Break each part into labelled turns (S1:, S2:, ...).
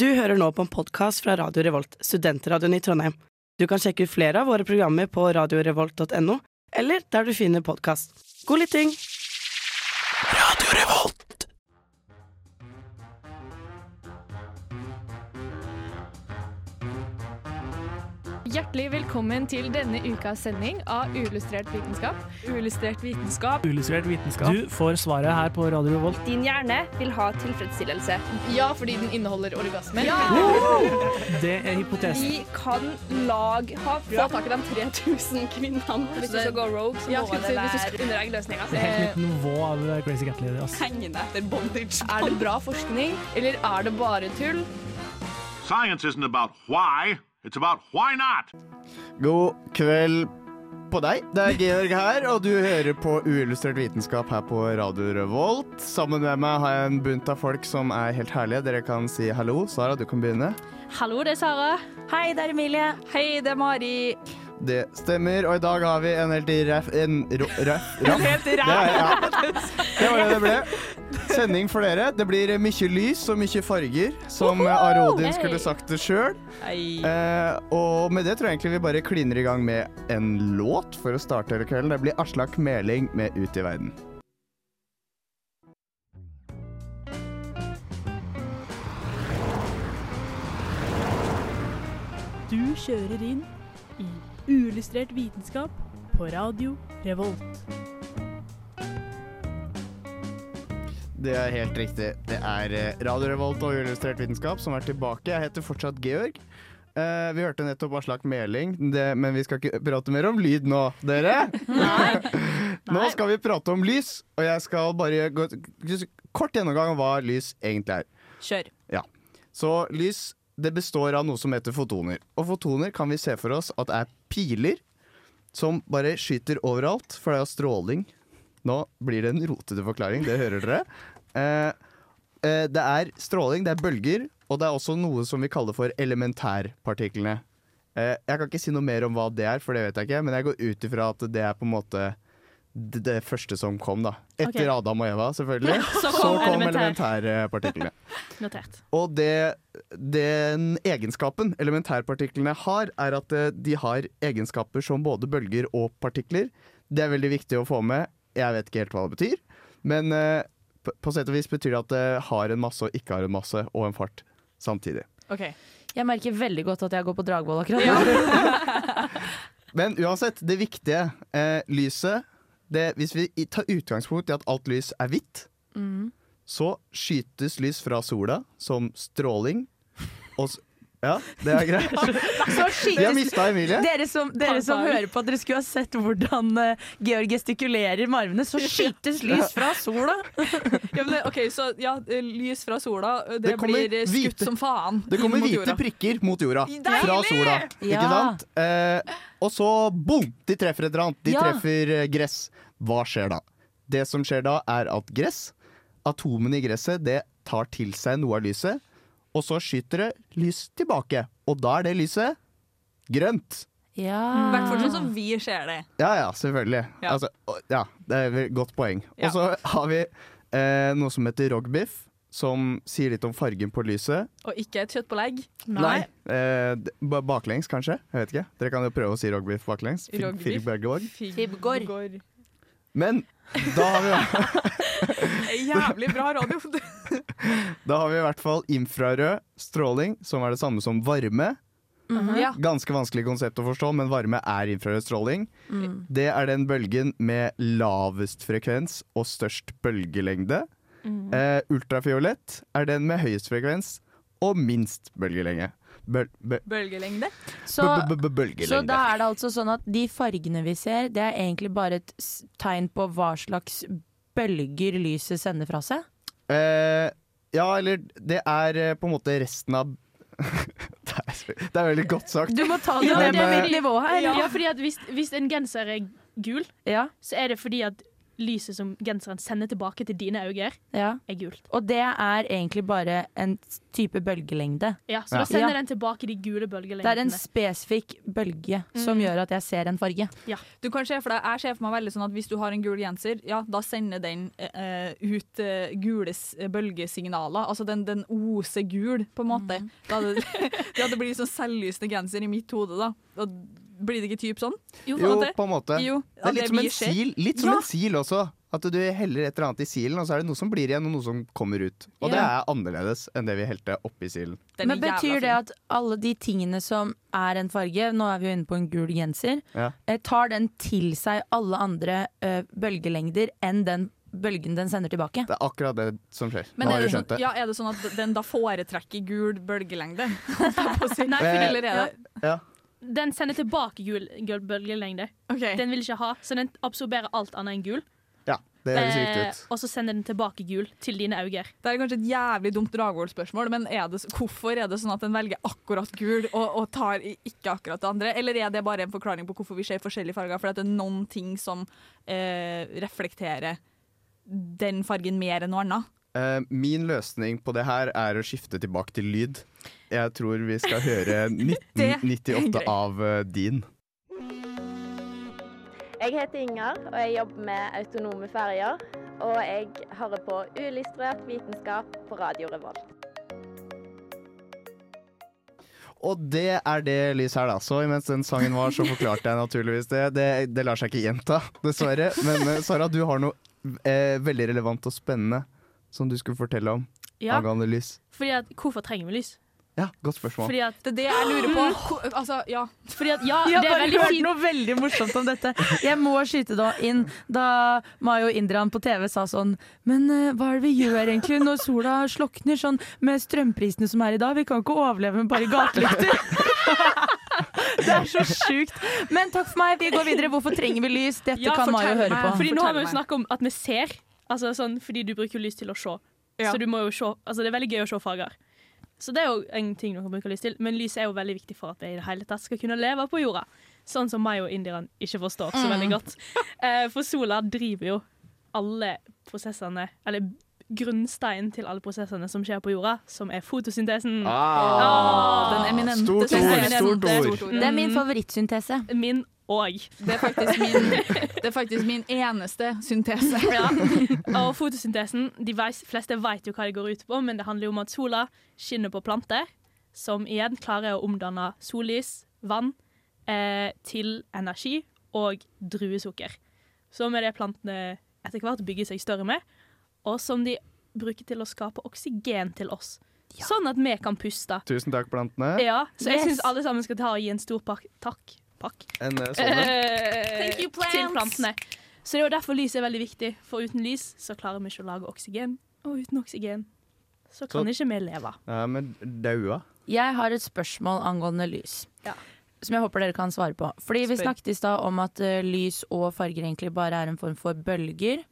S1: Du hører nå på en podkast fra Radio Revolt, studentradioen i Trondheim. Du kan sjekke ut flere av våre programmer på radiorevolt.no, eller der du finner podkast. God lytting! Radio Revolt.
S2: Hjertelig velkommen til denne ukas sending av Uillustrert vitenskap. Uillustrert vitenskap.
S3: Illustrert vitenskap. Du får svaret her på Radio Revolt.
S4: Din hjerne vil ha tilfredsstillelse.
S2: Ja, fordi den inneholder orgasme.
S3: Det er hypotesen.
S4: Vi kan lag havfrua.
S5: Få tak i de 3000 kvinnene.
S4: Hvis du skal gå rogue, så
S5: Ja,
S4: må
S5: skulle
S4: det
S5: si, hvis du
S4: være
S5: skal-
S4: under egen løsning. Altså.
S3: Det er helt nytt nivå av eh, Crazy Cat-leder. ass.
S5: Hengende etter bondage.
S2: Er det bra forskning, eller er det bare tull?
S6: Science isn't about why, it's about why not.
S7: God kveld på deg. Det er Georg her, og du hører på Uillustrert vitenskap her på Radio Revolt. Sammen med meg har jeg en bunt av folk som er helt herlige. Dere kan si hallo. Sara, du kan begynne.
S2: Hallo, det er Sara.
S4: Hei, det er Emilie. Hei, det er Mari.
S7: Det stemmer, og i dag har vi en helt ræff En ro- ræff ræff. Det, er- ja. det var det det ble. Sending for dere. Det blir mye lys og mye farger, som Are Odin skulle sagt det sjøl. Eh, og med det tror jeg egentlig vi bare kliner i gang med en låt for å starte hele kvelden. Det blir Aslak Meling med Ut i verden.
S8: Du kjører inn i uillustrert vitenskap på Radio Revolt.
S7: Det er helt riktig. Det er eh, Radio Revolt og Uillustrert vitenskap som er tilbake. Jeg heter fortsatt Georg. Eh, vi hørte nettopp Aslak Meling, det, men vi skal ikke prate mer om lyd nå, dere. nå skal vi prate om lys, og jeg skal bare gå kort gjennomgang av hva lys egentlig er.
S4: Kjør.
S7: Ja. Så lys det består av noe som heter fotoner. Og fotoner kan vi se for oss at er piler som bare skyter overalt, for det er jo stråling. Nå blir det en rotete forklaring, det hører dere. Eh, eh, det er stråling, det er bølger, og det er også noe som vi kaller for elementærpartiklene. Eh, jeg kan ikke si noe mer om hva det er, for det vet jeg ikke, men jeg går ut ifra at det er på en måte det, det første som kom, da. Etter
S8: Ok.
S7: Adam og Eva, selvfølgelig.
S8: Så kom elementær.
S7: elementærpartiklene.
S8: Notert.
S7: Og det, den egenskapen elementærpartiklene har, er at eh, de har egenskaper som både bølger og partikler. Det er veldig viktig å få med. Jeg vet ikke helt hva det betyr. Men eh, på- på sett og vis betyr det at det har en masse og ikke har en masse, og en fart samtidig.
S9: Jeg merker veldig godt at jeg går på dragvoll akkurat nå.
S7: Men uansett, det viktige eh, lyset det, Hvis vi i- tar utgangspunkt i at alt lys er hvitt, så skytes lys fra sola som stråling. Og s ja, det er greit. Vi har mista Emilie.
S9: Dere som, dere som hører på at dere skulle ha sett hvordan eh, Georg gestikulerer med armene, så skytes lys fra sola!
S5: Ja, men, det- ok, så ja, eh, Lys fra sola, det,
S7: Det kommer
S5: blir eh, skutt
S7: hvite-
S5: som faen.
S7: Det kommer
S5: inn mot
S7: hvite
S5: jorda.
S7: prikker mot jorda fra sola. Ikke
S9: Ja.
S7: sant? Eh, og så boom! De treffer et eller annet. De
S9: Ja.
S7: treffer eh, gress. Hva skjer da? Det som skjer da, er at gress, atomene i gresset, det tar til seg noe av lyset. Og så skyter det lys tilbake. Og da er det lyset grønt.
S5: I
S9: Ja.
S5: hvert fall sånn som vi ser det.
S7: Ja, ja, selvfølgelig.
S5: Ja.
S7: Altså, å- ja, det er et godt poeng.
S5: Ja.
S7: Og så har vi eh, noe som heter rogbiff, som sier litt om fargen på lyset.
S5: Og ikke et kjøttpålegg.
S7: Nei. Eh, d- ba- baklengs, kanskje? Jeg vet ikke. Dere kan jo prøve å si rogbiff baklengs. Fig-
S5: Rogbiff.
S7: figgbergorg.
S9: Fibgård.
S5: Fibgård.
S7: Men da har, vi,
S5: Eh, Jævlig bra radio.
S7: da har vi i hvert fall infrarød stråling, som er det samme som varme.
S5: Ja.
S7: Ganske vanskelig konsept å forstå, men varme er infrarød stråling.
S9: Mm.
S7: Det er den bølgen med lavest frekvens og størst bølgelengde.
S9: Mm.
S7: Eh, ultrafiolett er den med høyest frekvens og minst bølgelenge. Bøl, bøl,
S5: Bølgelengde.
S9: Så,
S7: bøl- bøl- bølgelengde.
S9: så da er det altså sånn at de fargene vi ser, det er egentlig bare et s- tegn på hva slags bølger lyset sender fra seg?
S7: Eh, ja, eller det er eh, på en måte resten av det, er, det er veldig godt sagt.
S9: Du må ta det
S7: Ja,
S9: ned
S7: det
S9: på
S7: er
S9: mitt nivå her.
S10: Ja, fordi at hvis, hvis en genser er gul,
S9: Ja.
S10: så er det fordi at
S8: lyset som genseren sender tilbake til dine øyne,
S9: Ja.
S8: er gult.
S9: Og det er egentlig bare en type bølgelengde.
S8: Ja, Så
S7: Ja.
S8: da sender
S9: Ja.
S8: den tilbake de gule
S9: Det er en
S8: bølgelengdene.
S9: spesifikk bølge
S5: Mm.
S9: som gjør at jeg ser en farge.
S5: Du kan se for deg, Jeg ser for meg veldig sånn at hvis du har en gul genser, ja, da sender den eh, ut eh, gule s- bølgesignaler. Altså den, den oser gul, på en måte. Da hadde, det hadde blitt sånn selvlysende genser i mitt hode, da. da blir det ikke typ sånn? på en
S7: Jo,
S5: måte.
S7: på en måte.
S5: Jo,
S7: Det
S5: av
S7: er litt som
S5: vi
S7: en
S5: ser.
S7: sil, litt som
S5: Ja.
S7: en sil også. At du heller et eller annet i silen, og så er det noe som blir igjen, og noe som kommer ut. Og det er annerledes enn det vi helte oppi silen.
S5: Den er
S9: Men
S5: jævla
S9: betyr
S5: fin.
S9: det at alle de tingene som er en farge, nå er vi jo inne på en gul genser,
S7: Ja.
S9: eh, tar den til seg alle andre eh, bølgelengder enn den bølgen den sender tilbake?
S7: Det er akkurat det som skjer.
S5: Men
S7: Nå
S5: er
S7: har
S5: det,
S7: du skjønt
S5: sånn,
S7: det.
S5: ja, er det sånn at den da foretrekker gul bølgelengde?
S8: Nei,
S7: Eh,
S8: fordi
S5: Eller er det
S8: Den sender tilbake gul, gul bølgelengde.
S5: OK.
S8: Den vil ikke ha, så den absorberer alt annet enn gul.
S7: Ja, det høres riktig
S8: Eh,
S7: ut.
S8: og så sender den tilbake gul til dine øyne.
S5: Det er kanskje et jævlig dumt Dragvoll-spørsmål, men er det, s- hvorfor er det sånn at en velger akkurat gul og, og tar i- ikke akkurat det andre? Eller er det bare en forklaring på hvorfor vi ser forskjellige farger? For at det er noen ting som eh, reflekterer den fargen mer enn noe annet.
S7: Eh, min løsning på det her er å skifte tilbake til lyd. Jeg tror vi skal høre 1998
S5: greit.
S7: av eh, din.
S10: Jeg heter Inger, og jeg jobber med autonome ferger. Og jeg hører på uillustrert vitenskap på Radio Revolt.
S7: Og det er det lys her, da. Så imens den sangen var, så forklarte jeg naturligvis det. Det, det lar seg ikke gjenta, dessverre. Men eh, Sara, du har noe eh, veldig relevant og spennende som du skulle fortelle om
S8: Ja,
S7: angående lys.
S8: fordi at, hvorfor trenger vi lys?
S7: Ja, godt spørsmål.
S8: Fordi at,
S5: Det er det jeg lurer på. Hvor- Altså, ja.
S8: fordi at ja,
S9: Jeg har
S8: det er
S9: bare
S8: veldig
S9: hørt
S8: fint.
S9: noe veldig morsomt om dette. Jeg må skyte da inn da Mayo Indrian på TV sa sånn Men eh, hva er det vi gjør egentlig når sola slokner sånn med strømprisene som er i dag? Vi kan ikke overleve med bare gatelykter. Det er så sjukt. Men takk for meg, vi går videre. Hvorfor trenger vi lys? Dette
S8: Ja,
S9: kan Mayo
S5: fortell
S9: høre
S5: meg.
S9: på.
S8: Fordi nå har vi
S5: Fortell
S8: jo
S5: meg.
S8: snakket om at vi ser. Altså sånn, fordi du bruker jo lys til å se.
S5: Ja.
S8: Så du må jo se, altså det er veldig gøy å se farger. Så det er jo en ting du kan bruke lys til. Men lys er jo veldig viktig for at vi i det hele tatt skal kunne leve på jorda. Sånn som meg og indierne ikke forstår så
S5: Mm.
S8: veldig godt. Eh, For sola driver jo alle prosessene, eller grunnsteinen til alle prosessene som skjer på jorda, som er fotosyntesen.
S5: Den eminente
S7: Stort
S5: den
S7: ord,
S5: eminente-
S7: stort ord.
S9: Det
S8: Mm.
S9: er min favorittsyntese.
S8: Min òg.
S5: Det er faktisk min, det er faktisk min eneste syntese.
S8: Ja. Og fotosyntesen, de veis- fleste vet jo hva det går ut på, men det handler jo om at sola skinner på planter, som igjen klarer å omdanne sollys, vann, eh, til energi og druesukker. Som er det plantene etter hvert bygger seg større med, og som de bruker til å skape oksygen til oss. Sånn at vi kan puste.
S7: Tusen takk, plantene.
S8: Ja, så jeg
S9: Yes.
S8: syns alle sammen skal ta og gi en stor pakk. Takk. Pakk.
S7: En eh, sånn.
S8: Eh,
S5: Thank you,
S8: til
S5: plants.
S8: plantene. Så det er jo derfor lys er veldig viktig, for uten lys så klarer vi ikke å lage oksygen. Og uten oksygen så kan
S7: Så-
S8: ikke vi leve.
S7: Ja, men daua.
S9: Jeg har et spørsmål angående lys.
S8: Ja.
S9: Som jeg håper dere kan svare på. Fordi Vi
S5: Spør.
S9: snakket i stad om at eh, lys og farger egentlig bare er en form for bølger.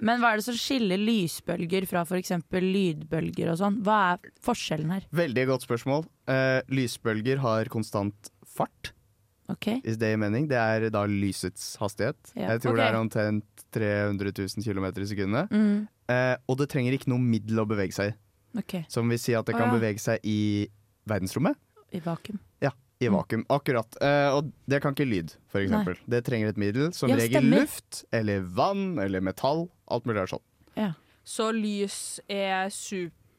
S9: Men hva er det som skiller lysbølger fra f.eks. lydbølger og sånn? Hva er forskjellen her?
S7: Veldig godt spørsmål. Eh, lysbølger har konstant fart,
S9: Ok?
S7: is det i mening. Det er da lysets hastighet.
S9: Ja.
S7: Jeg tror
S5: Ok.
S7: det er omtrent 300 000 km i sekundet.
S9: Mm,
S7: Eh, og det trenger ikke noe middel å bevege seg i.
S9: ok.
S7: Som vil si at det
S9: Å,
S7: kan
S9: ja.
S7: bevege seg i verdensrommet.
S9: I vakuum.
S7: I vakuum. Akkurat. Eh, og det kan ikke lyd, f.eks. Det trenger et middel. Som
S9: Ja,
S7: regel
S9: stemmer.
S7: luft eller vann eller metall. Alt mulig er sånn.
S5: Så lys er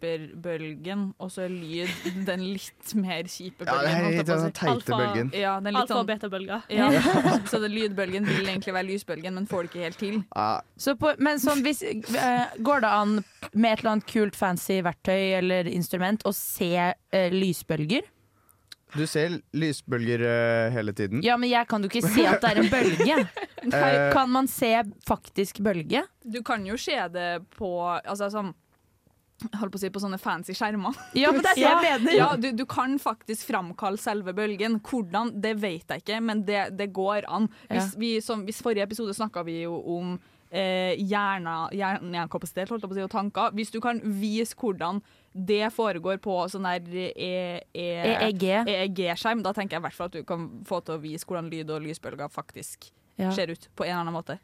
S5: superbølgen, og så er lyd den litt mer kjipe
S7: Ja, det
S5: bølgen.
S7: er
S5: holdt jeg
S7: litt
S5: på å si.
S7: den teite
S8: Alfa-
S7: bølgen.
S5: Ja, den er litt
S8: Alfa- og
S5: sånn
S8: beta-bølger.
S5: Ja. Så det lydbølgen vil egentlig være lysbølgen, men får det ikke helt til.
S7: Ja,
S9: Så på, men sånn, hvis, eh, går det an med et eller annet kult, fancy verktøy eller instrument å se eh, lysbølger?
S7: du ser lysbølger eh, hele tiden.
S9: Ja, men jeg kan jo ikke se at det er en bølge.
S7: Eh,
S9: Kan man se faktisk bølge?
S5: Du kan jo se det på altså, sånn, jeg holdt på å si på sånne fancy skjermer.
S9: Ja, men det er det jeg mener.
S5: Ja, du, du kan faktisk framkalle selve bølgen. Hvordan, det vet jeg ikke, men det, det går an. Hvis, vi, som, hvis forrige episode snakka vi jo om eh, hjerna, hjernekapasitet holdt jeg på å si, og tanker. Hvis du kan vise hvordan det foregår på sånn der eh,
S9: E
S5: eh,
S9: EEG.
S5: EEG-skjerm, da tenker jeg i hvert fall at du kan få til å vise hvordan lyd og lysbølger faktisk
S9: Ja.
S5: ser ut. På en eller annen måte.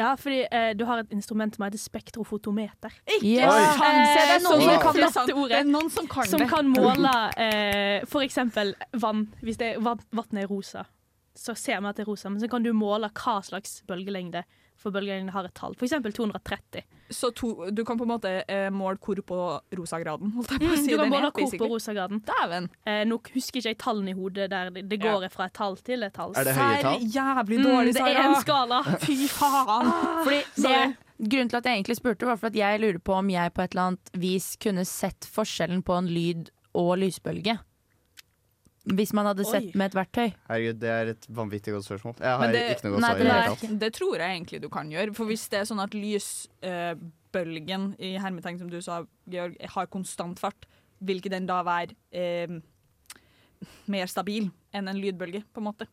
S8: Ja, fordi eh, du har et instrument som heter spektrofotometer.
S5: Ikke Ja. sant!
S8: Eh,
S5: Se, det er noen som kan
S8: som kan
S5: det. Det er noen som kan
S8: som
S5: det.
S8: kan måle eh, for eksempel vann. Hvis det er- vann- vannet er rosa, så ser vi at det er rosa. Men så kan du måle hva slags bølgelengde, for bølgelengde har et tall. For eksempel 230.
S5: Så to, du kan på en måte eh, måle hvor på rosagraden, holdt jeg på å
S8: Mm,
S5: si.
S8: du kan
S5: den
S8: måle
S5: het,
S8: hvor på
S5: basically.
S8: rosagraden.
S5: Dæven.
S8: Eh, nå husker ikke jeg tallene i hodet. der Det, det går fra et tall til et tall.
S7: Er det høye tall?
S5: Jævlig
S8: Mm,
S5: dårlig,
S8: det er
S5: Sara.
S8: en skala. Fy faen.
S9: Fordi det,
S8: Sorry.
S9: grunnen til at jeg egentlig spurte, var for at jeg lurer på om jeg på et eller annet vis kunne sett forskjellen på en lyd og lysbølge. Hvis man hadde sett
S8: Oi.
S9: med et verktøy.
S7: Herregud, det er et vanvittig godt spørsmål. Jeg har
S5: Men det-
S7: ikke noe godt
S9: Nei,
S7: svar. i
S9: det
S7: det
S9: er
S7: hele tatt.
S5: Det tror jeg egentlig du kan gjøre. For hvis det er sånn at lysbølgen eh, i hermetegn, som du sa, Georg, har konstant fart, vil ikke den da være eh, mer stabil enn en lydbølge, på en måte?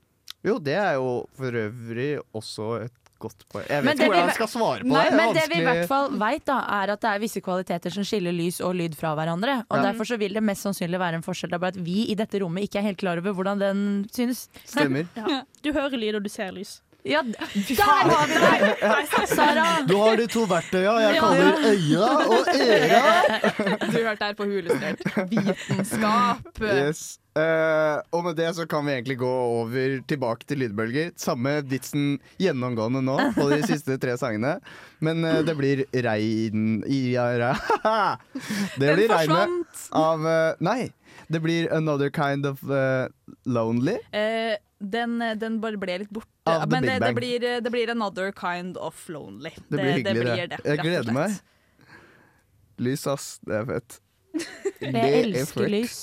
S7: Jo, det er jo for øvrig også et godt poeng. Jeg
S9: Men
S7: vet
S9: det
S7: ikke hvordan
S9: vi-
S7: jeg skal svare på
S9: Nei,
S7: det.
S9: men det vi i
S7: vanskelig.
S9: hvert fall veit, da, er at det er visse kvaliteter som skiller lys og lyd fra hverandre. Og derfor så vil det mest sannsynlig være en forskjell. Det er bare at vi i dette rommet ikke er helt klar over hvordan den synes.
S7: Stemmer.
S8: Ja. Du hører lyd, og du ser lys.
S9: Ja, d- der har vi det! Sara!
S7: Du har de to verktøya jeg
S8: Ja.
S7: kaller øya og øra.
S5: Du hørte her på Hulestrert. Vitenskap.
S7: Yes. Eh, og med det så kan vi egentlig gå over tilbake til lydbølger. Samme vitsen gjennomgående nå på de siste tre sangene. Men eh, det blir rein... i- ja, re- Det
S5: Den
S7: blir regnet
S5: forsvant.
S7: av eh, Nei. Det blir 'Another Kind of eh, Lonely'.
S5: Eh, den, den bare ble litt borte.
S7: Av The
S5: Men
S7: Big
S5: det, det,
S7: Bang.
S5: blir, eh, det blir another kind of lonely.
S7: Det blir hyggelig, det.
S5: blir
S7: Jeg
S5: rett og
S7: gleder
S5: slett.
S7: meg. Lys, ass. Det er fett.
S9: Jeg
S7: Det er
S9: elsker
S7: fett.
S9: lys.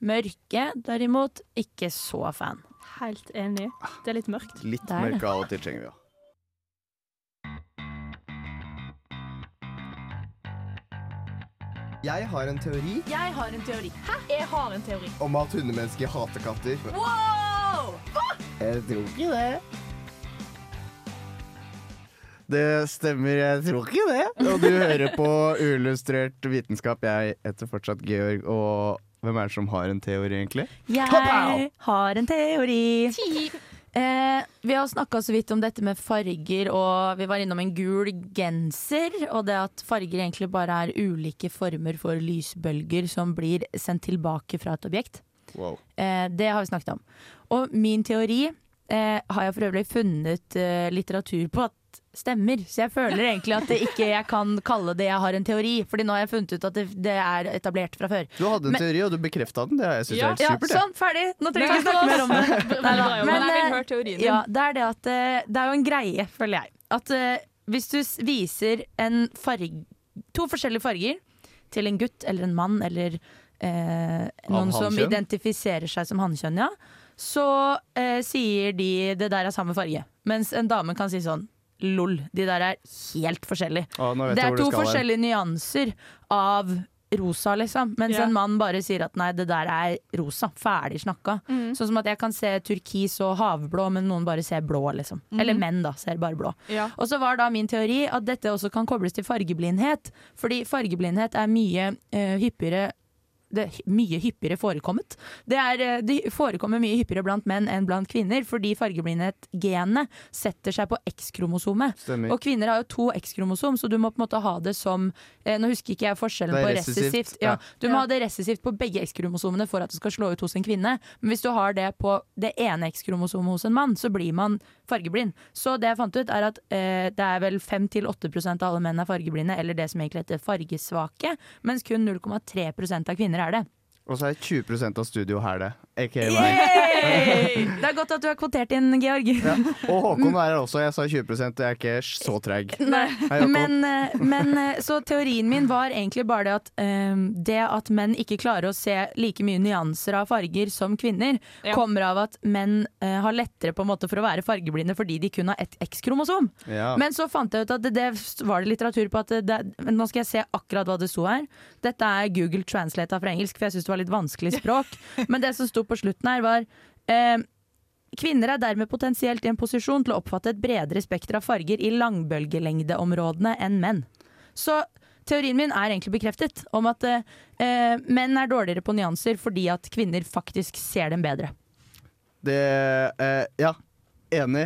S9: Mørke, derimot, ikke så fan.
S8: Helt enig. Det er litt mørkt.
S7: Litt
S9: Det er det.
S7: mørke av og til trenger vi òg. Jeg har en teori
S8: Jeg har en teori. Hæ? Jeg har en teori.
S7: om at hundemennesker hater katter. Jeg tror ikke det. Det stemmer, jeg tror ikke det. Og du hører på Uillustrert vitenskap. Jeg heter fortsatt Georg, og hvem er det som har en teori, egentlig?
S9: Jeg har en teori. Eh, vi har snakka så vidt om dette med farger, og vi var innom en gul genser. Og det at farger egentlig bare er ulike former for lysbølger som blir sendt tilbake fra et objekt.
S7: Wow.
S9: Eh, det har vi snakket om. Og min teori eh, har jeg for øvrig funnet eh, litteratur på at stemmer. Så jeg føler egentlig at det ikke jeg kan kalle det jeg har en teori, Fordi nå har jeg funnet ut at det, det er etablert fra før.
S7: Du hadde en
S9: Men-
S7: teori, og du bekrefta den. Det er- jeg synes
S5: Ja.
S7: jeg er helt supert. det.
S9: sånn, ferdig! Nå trenger vi ikke snakke mer om det. Neida,
S5: Men, jeg
S9: eh,
S5: vil høre teorien din.
S9: ja, det er det at eh, Det er jo en greie, føler jeg. At eh, hvis du s- viser en farg, to forskjellige farger til en gutt eller en mann eller eh, noen som
S7: hannkjønn?
S9: identifiserer seg som hannkjønn, ja, så eh, sier de 'det der er samme farge'. Mens en dame kan si sånn 'lol, de der er helt forskjellige'.
S7: Å, nå vet
S9: Det er
S7: jeg hvor du
S9: to
S7: skal hen.
S9: forskjellige nyanser av rosa, liksom. Mens
S5: Ja.
S9: en mann bare sier at nei, det der er rosa. Ferdig snakka.
S5: Mm.
S9: Sånn som at jeg kan se turkis og havblå, men noen bare ser blå, liksom. Eller menn, da, ser bare blå.
S5: Mm. Ja.
S9: Og så var da min teori at dette også kan kobles til fargeblindhet. Fordi fargeblindhet er mye eh, hyppigere det er hy- mye hyppigere forekommet. Det, er, eh, det forekommer mye hyppigere blant menn enn blant kvinner, fordi fargeblindhet-genet setter seg på X-kromosomet.
S7: Stemmer.
S9: Og kvinner har jo to X-kromosom, så du må på en måte ha det som eh, Nå husker ikke jeg forskjellen
S7: Det er
S9: på
S7: resessivt,
S9: resessivt.
S7: ja.
S9: Ja. Du må ha det resessivt på begge X-kromosomene for at det skal slå ut hos en kvinne. Men hvis du har det på det ene X-kromosomet hos en mann, så blir man fargeblind. Så det jeg fant ut, er at eh, det er vel 5-8 av alle menn er fargeblinde, eller det som egentlig heter fargesvake, mens kun 0,3 av kvinner er det.
S7: Og så er 20 av studio her, det. AKA meg.
S9: Yay! Det er godt at du har kvotert inn, Georg.
S7: Ja. Og Håkon er her også. Jeg sa 20 jeg er ikke så treig. Hei, Håkon.
S9: Men, eh, men eh, så teorien min var egentlig bare det at eh, det at menn ikke klarer å se like mye nyanser av farger som kvinner,
S5: Ja.
S9: kommer av at menn eh, har lettere på en måte for å være fargeblinde fordi de kun har ett X-kromosom.
S7: ja.
S9: Men så fant jeg ut at det, det var det litteratur på at det, det, Nå skal jeg se akkurat hva det sto her. Dette er Google translata fra engelsk, for jeg syns det var litt vanskelig språk. Men det som sto på slutten her, var eh, Kvinner er dermed potensielt i en posisjon til å oppfatte et bredere spekter av farger i langbølgelengdeområdene enn menn. Så teorien min er egentlig bekreftet, om at eh, eh, menn er dårligere på nyanser fordi at kvinner faktisk ser dem bedre.
S7: Det eh, Ja. Enig.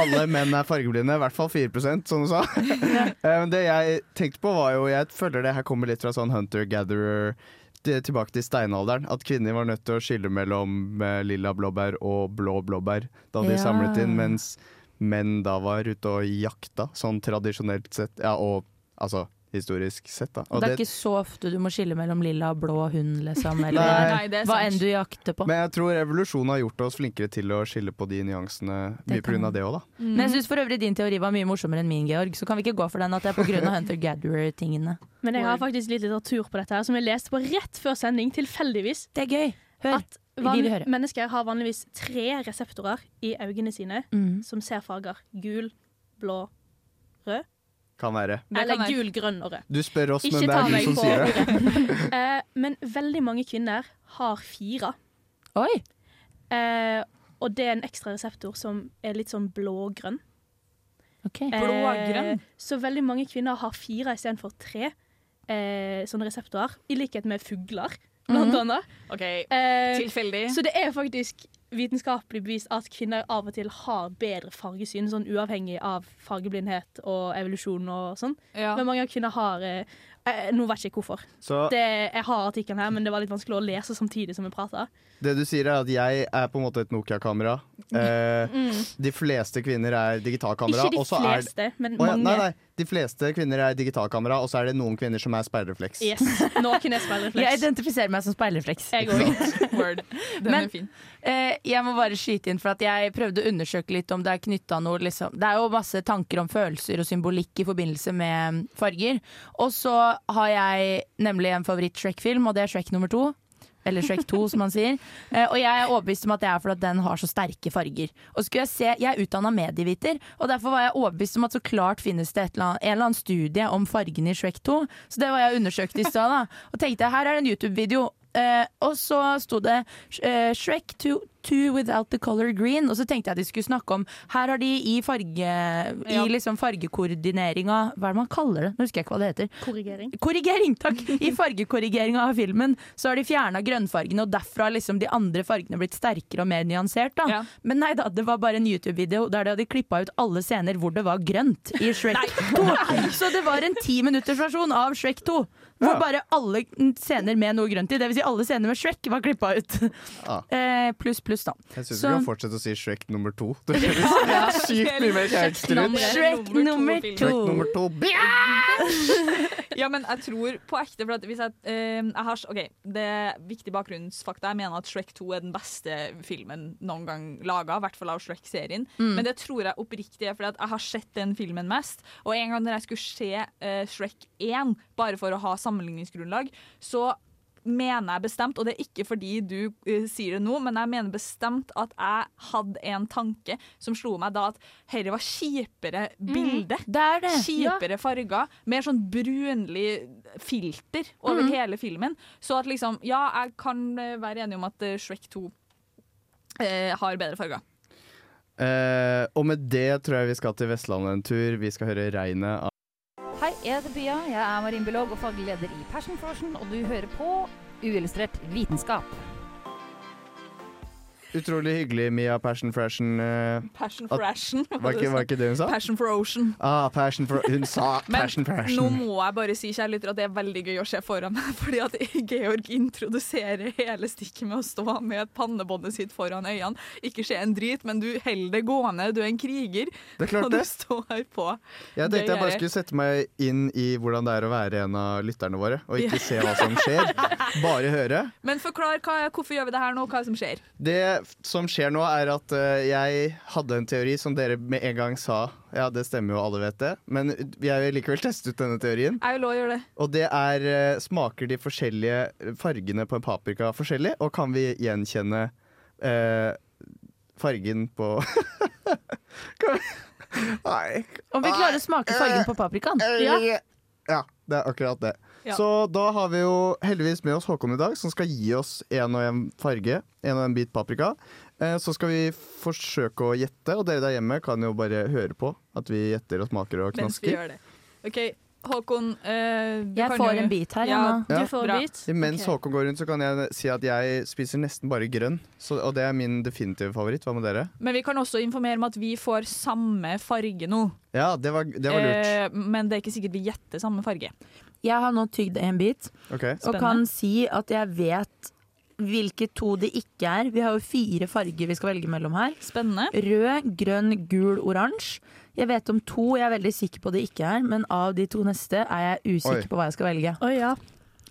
S7: Alle menn er fargeblinde, i hvert fall 4 som du sa. Eh, Men det jeg tenkte på, var jo Jeg føler det her kommer litt fra sånn hunter-gatherer det- tilbake til steinalderen. At kvinner var nødt til å skille mellom eh, lilla blåbær og blå blåbær da de
S11: Ja.
S7: samlet inn, mens menn da var ute og jakta, sånn tradisjonelt sett. Ja, og altså historisk sett, da. Og
S9: det er ikke så ofte du må skille mellom lilla og blå hund, liksom. Eller
S7: Nei. Nei, det er
S9: hva
S7: sant.
S9: enn du jakter på.
S7: Men jeg tror evolusjonen har gjort oss flinkere til å skille på de nyansene.
S9: Det
S7: Mye
S9: kan
S7: pga.
S9: man.
S7: det òg, da.
S9: Men jeg syns for øvrig din teori var mye morsommere enn min, Georg. Så kan vi ikke gå for den at det er pga. hunter-gatherer-tingene.
S8: Men jeg har faktisk litt litteratur på dette her, som jeg leste på rett før sending, tilfeldigvis.
S9: Det er gøy. Hør.
S8: At van-
S9: Vi vil høre.
S8: mennesker har vanligvis tre reseptorer i øynene sine
S9: Mm.
S8: som ser farger. Gul, blå, rød.
S7: Kan være.
S8: Eller gul, grønn og rød.
S7: Du spør oss, men
S8: Ikke
S7: det
S8: ta
S7: er
S8: meg
S7: du som
S8: på
S7: sier det.
S8: ordet. Eh, men veldig mange kvinner har fire.
S9: Oi!
S8: Eh, og det er en ekstra reseptor som er litt sånn blågrønn. Eh,
S9: Okay.
S5: Blågrønn?
S8: så veldig mange kvinner har fire istedenfor tre eh, sånne reseptorer, i likhet med fugler, blant
S5: Mhm.
S8: annet. Eh, Så det er faktisk vitenskapelig bevist at kvinner av og til har bedre fargesyn, sånn uavhengig av fargeblindhet og evolusjon og sånn.
S5: Ja.
S8: Men mange av kvinner har eh, eh, Nå vet jeg ikke hvorfor.
S7: Så-
S8: Det, jeg har artikkelen her, men det var litt vanskelig å lese samtidig som jeg prater.
S7: Det du sier, er at jeg er på en måte et Nokia-kamera. Eh,
S8: Mm.
S7: De fleste kvinner er digitalkamera.
S8: Ikke de
S7: og så er-
S8: fleste, men
S7: Å ja,
S8: mange.
S7: Nei, nei. De fleste kvinner er digitalkamera, og så er det noen kvinner som er speilrefleks.
S8: Yes. Noen er speilrefleks.
S9: Jeg identifiserer meg som speilrefleks.
S8: Jeg òg.
S9: Men eh, jeg må bare skyte inn, for at jeg prøvde å undersøke litt om det er knytta noe liksom. Det er jo masse tanker om følelser og symbolikk i forbindelse med farger. Og så har jeg nemlig en favoritt-Shrek-film, og det er Shrek nummer to. Eller Shrek 2, som han sier. Eh, og jeg er overbevist om at det er fordi at den har så sterke farger. Og skulle Jeg se, jeg er utdanna medieviter, og derfor var jeg overbevist om at så klart finnes det et eller annet, en eller annen studie om fargene i Shrek 2. Så det var jeg undersøkt i stad, da. Og tenkte her er det en YouTube-video. Eh, og så sto det eh, Shrek 2, 2 without the color green. Og så tenkte jeg de skulle snakke om Her har de i, farge, i liksom fargekoordineringa Hva er det man kaller det? Nå husker jeg ikke hva det heter.
S8: Korrigering.
S9: Korrigering, takk! I fargekorrigeringa av filmen så har de fjerna grønnfargene, og derfra har liksom de andre fargene blitt sterkere og mer nyansert. Da. Men nei da, det var bare en YouTube-video der de hadde klippa ut alle scener hvor det var grønt i Shrek 2. Så det var en ti minutters versjon av Shrek 2. Hvor
S7: Ja.
S9: bare alle scener med noe grønt i, dvs. Si alle scener med Shrek, var klippa ut.
S7: Ja.
S9: Eh, pluss, pluss, da.
S7: Jeg syns
S9: Så-
S7: du kan fortsette å si Shrek nummer to. Det høres sykt mye mer kjærester ut.
S9: Shrek nummer to.
S7: Shrek nummer to.
S5: ja, men jeg tror på ekte for at hvis jeg, eh, jeg har, ok, Det er viktig bakgrunnsfakta. Jeg mener at Shrek 2 er den beste filmen noen gang laga, i hvert fall av Shrek-serien.
S4: Mm.
S5: Men det tror jeg oppriktig er fordi at jeg har sett den filmen mest. Og en gang når jeg skulle se eh, Shrek 1, bare for å ha sammenligningsgrunnlag, så mener jeg bestemt, og det er ikke fordi du eh, sier det nå, men jeg mener bestemt at jeg hadde en tanke som slo meg da at herre var kjipere bilde. Kjipere farger. Mer sånn brunlig filter over
S4: Mhm.
S5: hele filmen. Så at liksom, ja, jeg kan eh, være enig om at eh, Shrek 2 eh, har bedre farger.
S7: Eh, og med det tror jeg vi skal til Vestlandet en tur. Vi skal høre regnet av
S12: Hei, jeg heter Pia. Jeg er marinbiolog og faglig leder i Passion Frosion, og du hører på Uillustrert vitenskap.
S7: Utrolig hyggelig, Mia Passion Freshen. eh,
S5: Passion
S7: at-
S5: for Ashen.
S7: Var ikke, var ikke det hun sa?
S5: Passion for Ocean.
S7: Ah, passion for, hun sa
S5: Men
S7: passion for
S5: nå
S7: Ashen.
S5: må jeg bare si kjære lytter, at det er veldig gøy å se foran meg, fordi at Georg introduserer hele stikket med å stå med pannebåndet sitt foran øynene. Ikke se en drit, men du holder det gående. Du er en kriger.
S7: Det er klart
S5: og
S7: det.
S5: du står på.
S7: Jeg
S5: Det
S7: tenkte jeg
S5: gjør
S7: bare skulle sette meg inn i hvordan det er å være en av lytterne våre, og
S5: Ja.
S7: ikke se hva som skjer. Bare høre.
S5: Men forklar, hva, er- hvorfor gjør vi det her nå? Hva er det som skjer?
S7: Det som skjer nå, er at eh, jeg hadde en teori som dere med en gang sa Ja, det stemmer jo, alle vet det, men jeg vil likevel teste ut denne teorien.
S5: Jeg vil òg gjøre det.
S7: Og det er eh, Smaker de forskjellige fargene på en paprika forskjellig, og kan vi gjenkjenne eh, fargen på Kan vi- Nei.
S9: Om vi klarer å smake fargen på paprikaen.
S7: Ja. Ja, det er akkurat det.
S9: Ja.
S7: Så da har vi jo heldigvis med oss Håkon i dag, som skal gi oss en og en farge. En og en bit paprika. Eh, Så skal vi forsøke å gjette, og dere der hjemme kan jo bare høre på at vi gjetter og smaker og
S5: Mens vi
S7: knasker.
S5: gjør det. OK, Håkon eh, du
S9: Jeg
S5: kan
S9: får
S5: jo-
S9: en bit her,
S5: Ja,
S9: jeg, nå.
S5: bra.
S7: Mens
S5: Ok.
S7: Håkon går rundt, så kan jeg si at jeg spiser nesten bare grønn. Så, og det er min definitive favoritt. Hva med dere?
S5: Men vi kan også informere om at vi får samme farge nå.
S7: Ja, det var, det var lurt.
S5: Eh, men det er ikke sikkert vi gjetter samme farge.
S9: Jeg har nå tygd en bit
S7: Ok.
S9: og kan si at jeg vet hvilke to det ikke er. Vi har jo fire farger vi skal velge mellom her.
S5: Spennende.
S9: Rød, grønn, gul, oransje. Jeg vet om to jeg er veldig sikker på det ikke er, men av de to neste er jeg usikker
S7: Oi.
S9: på hva jeg skal velge.
S8: Å ja.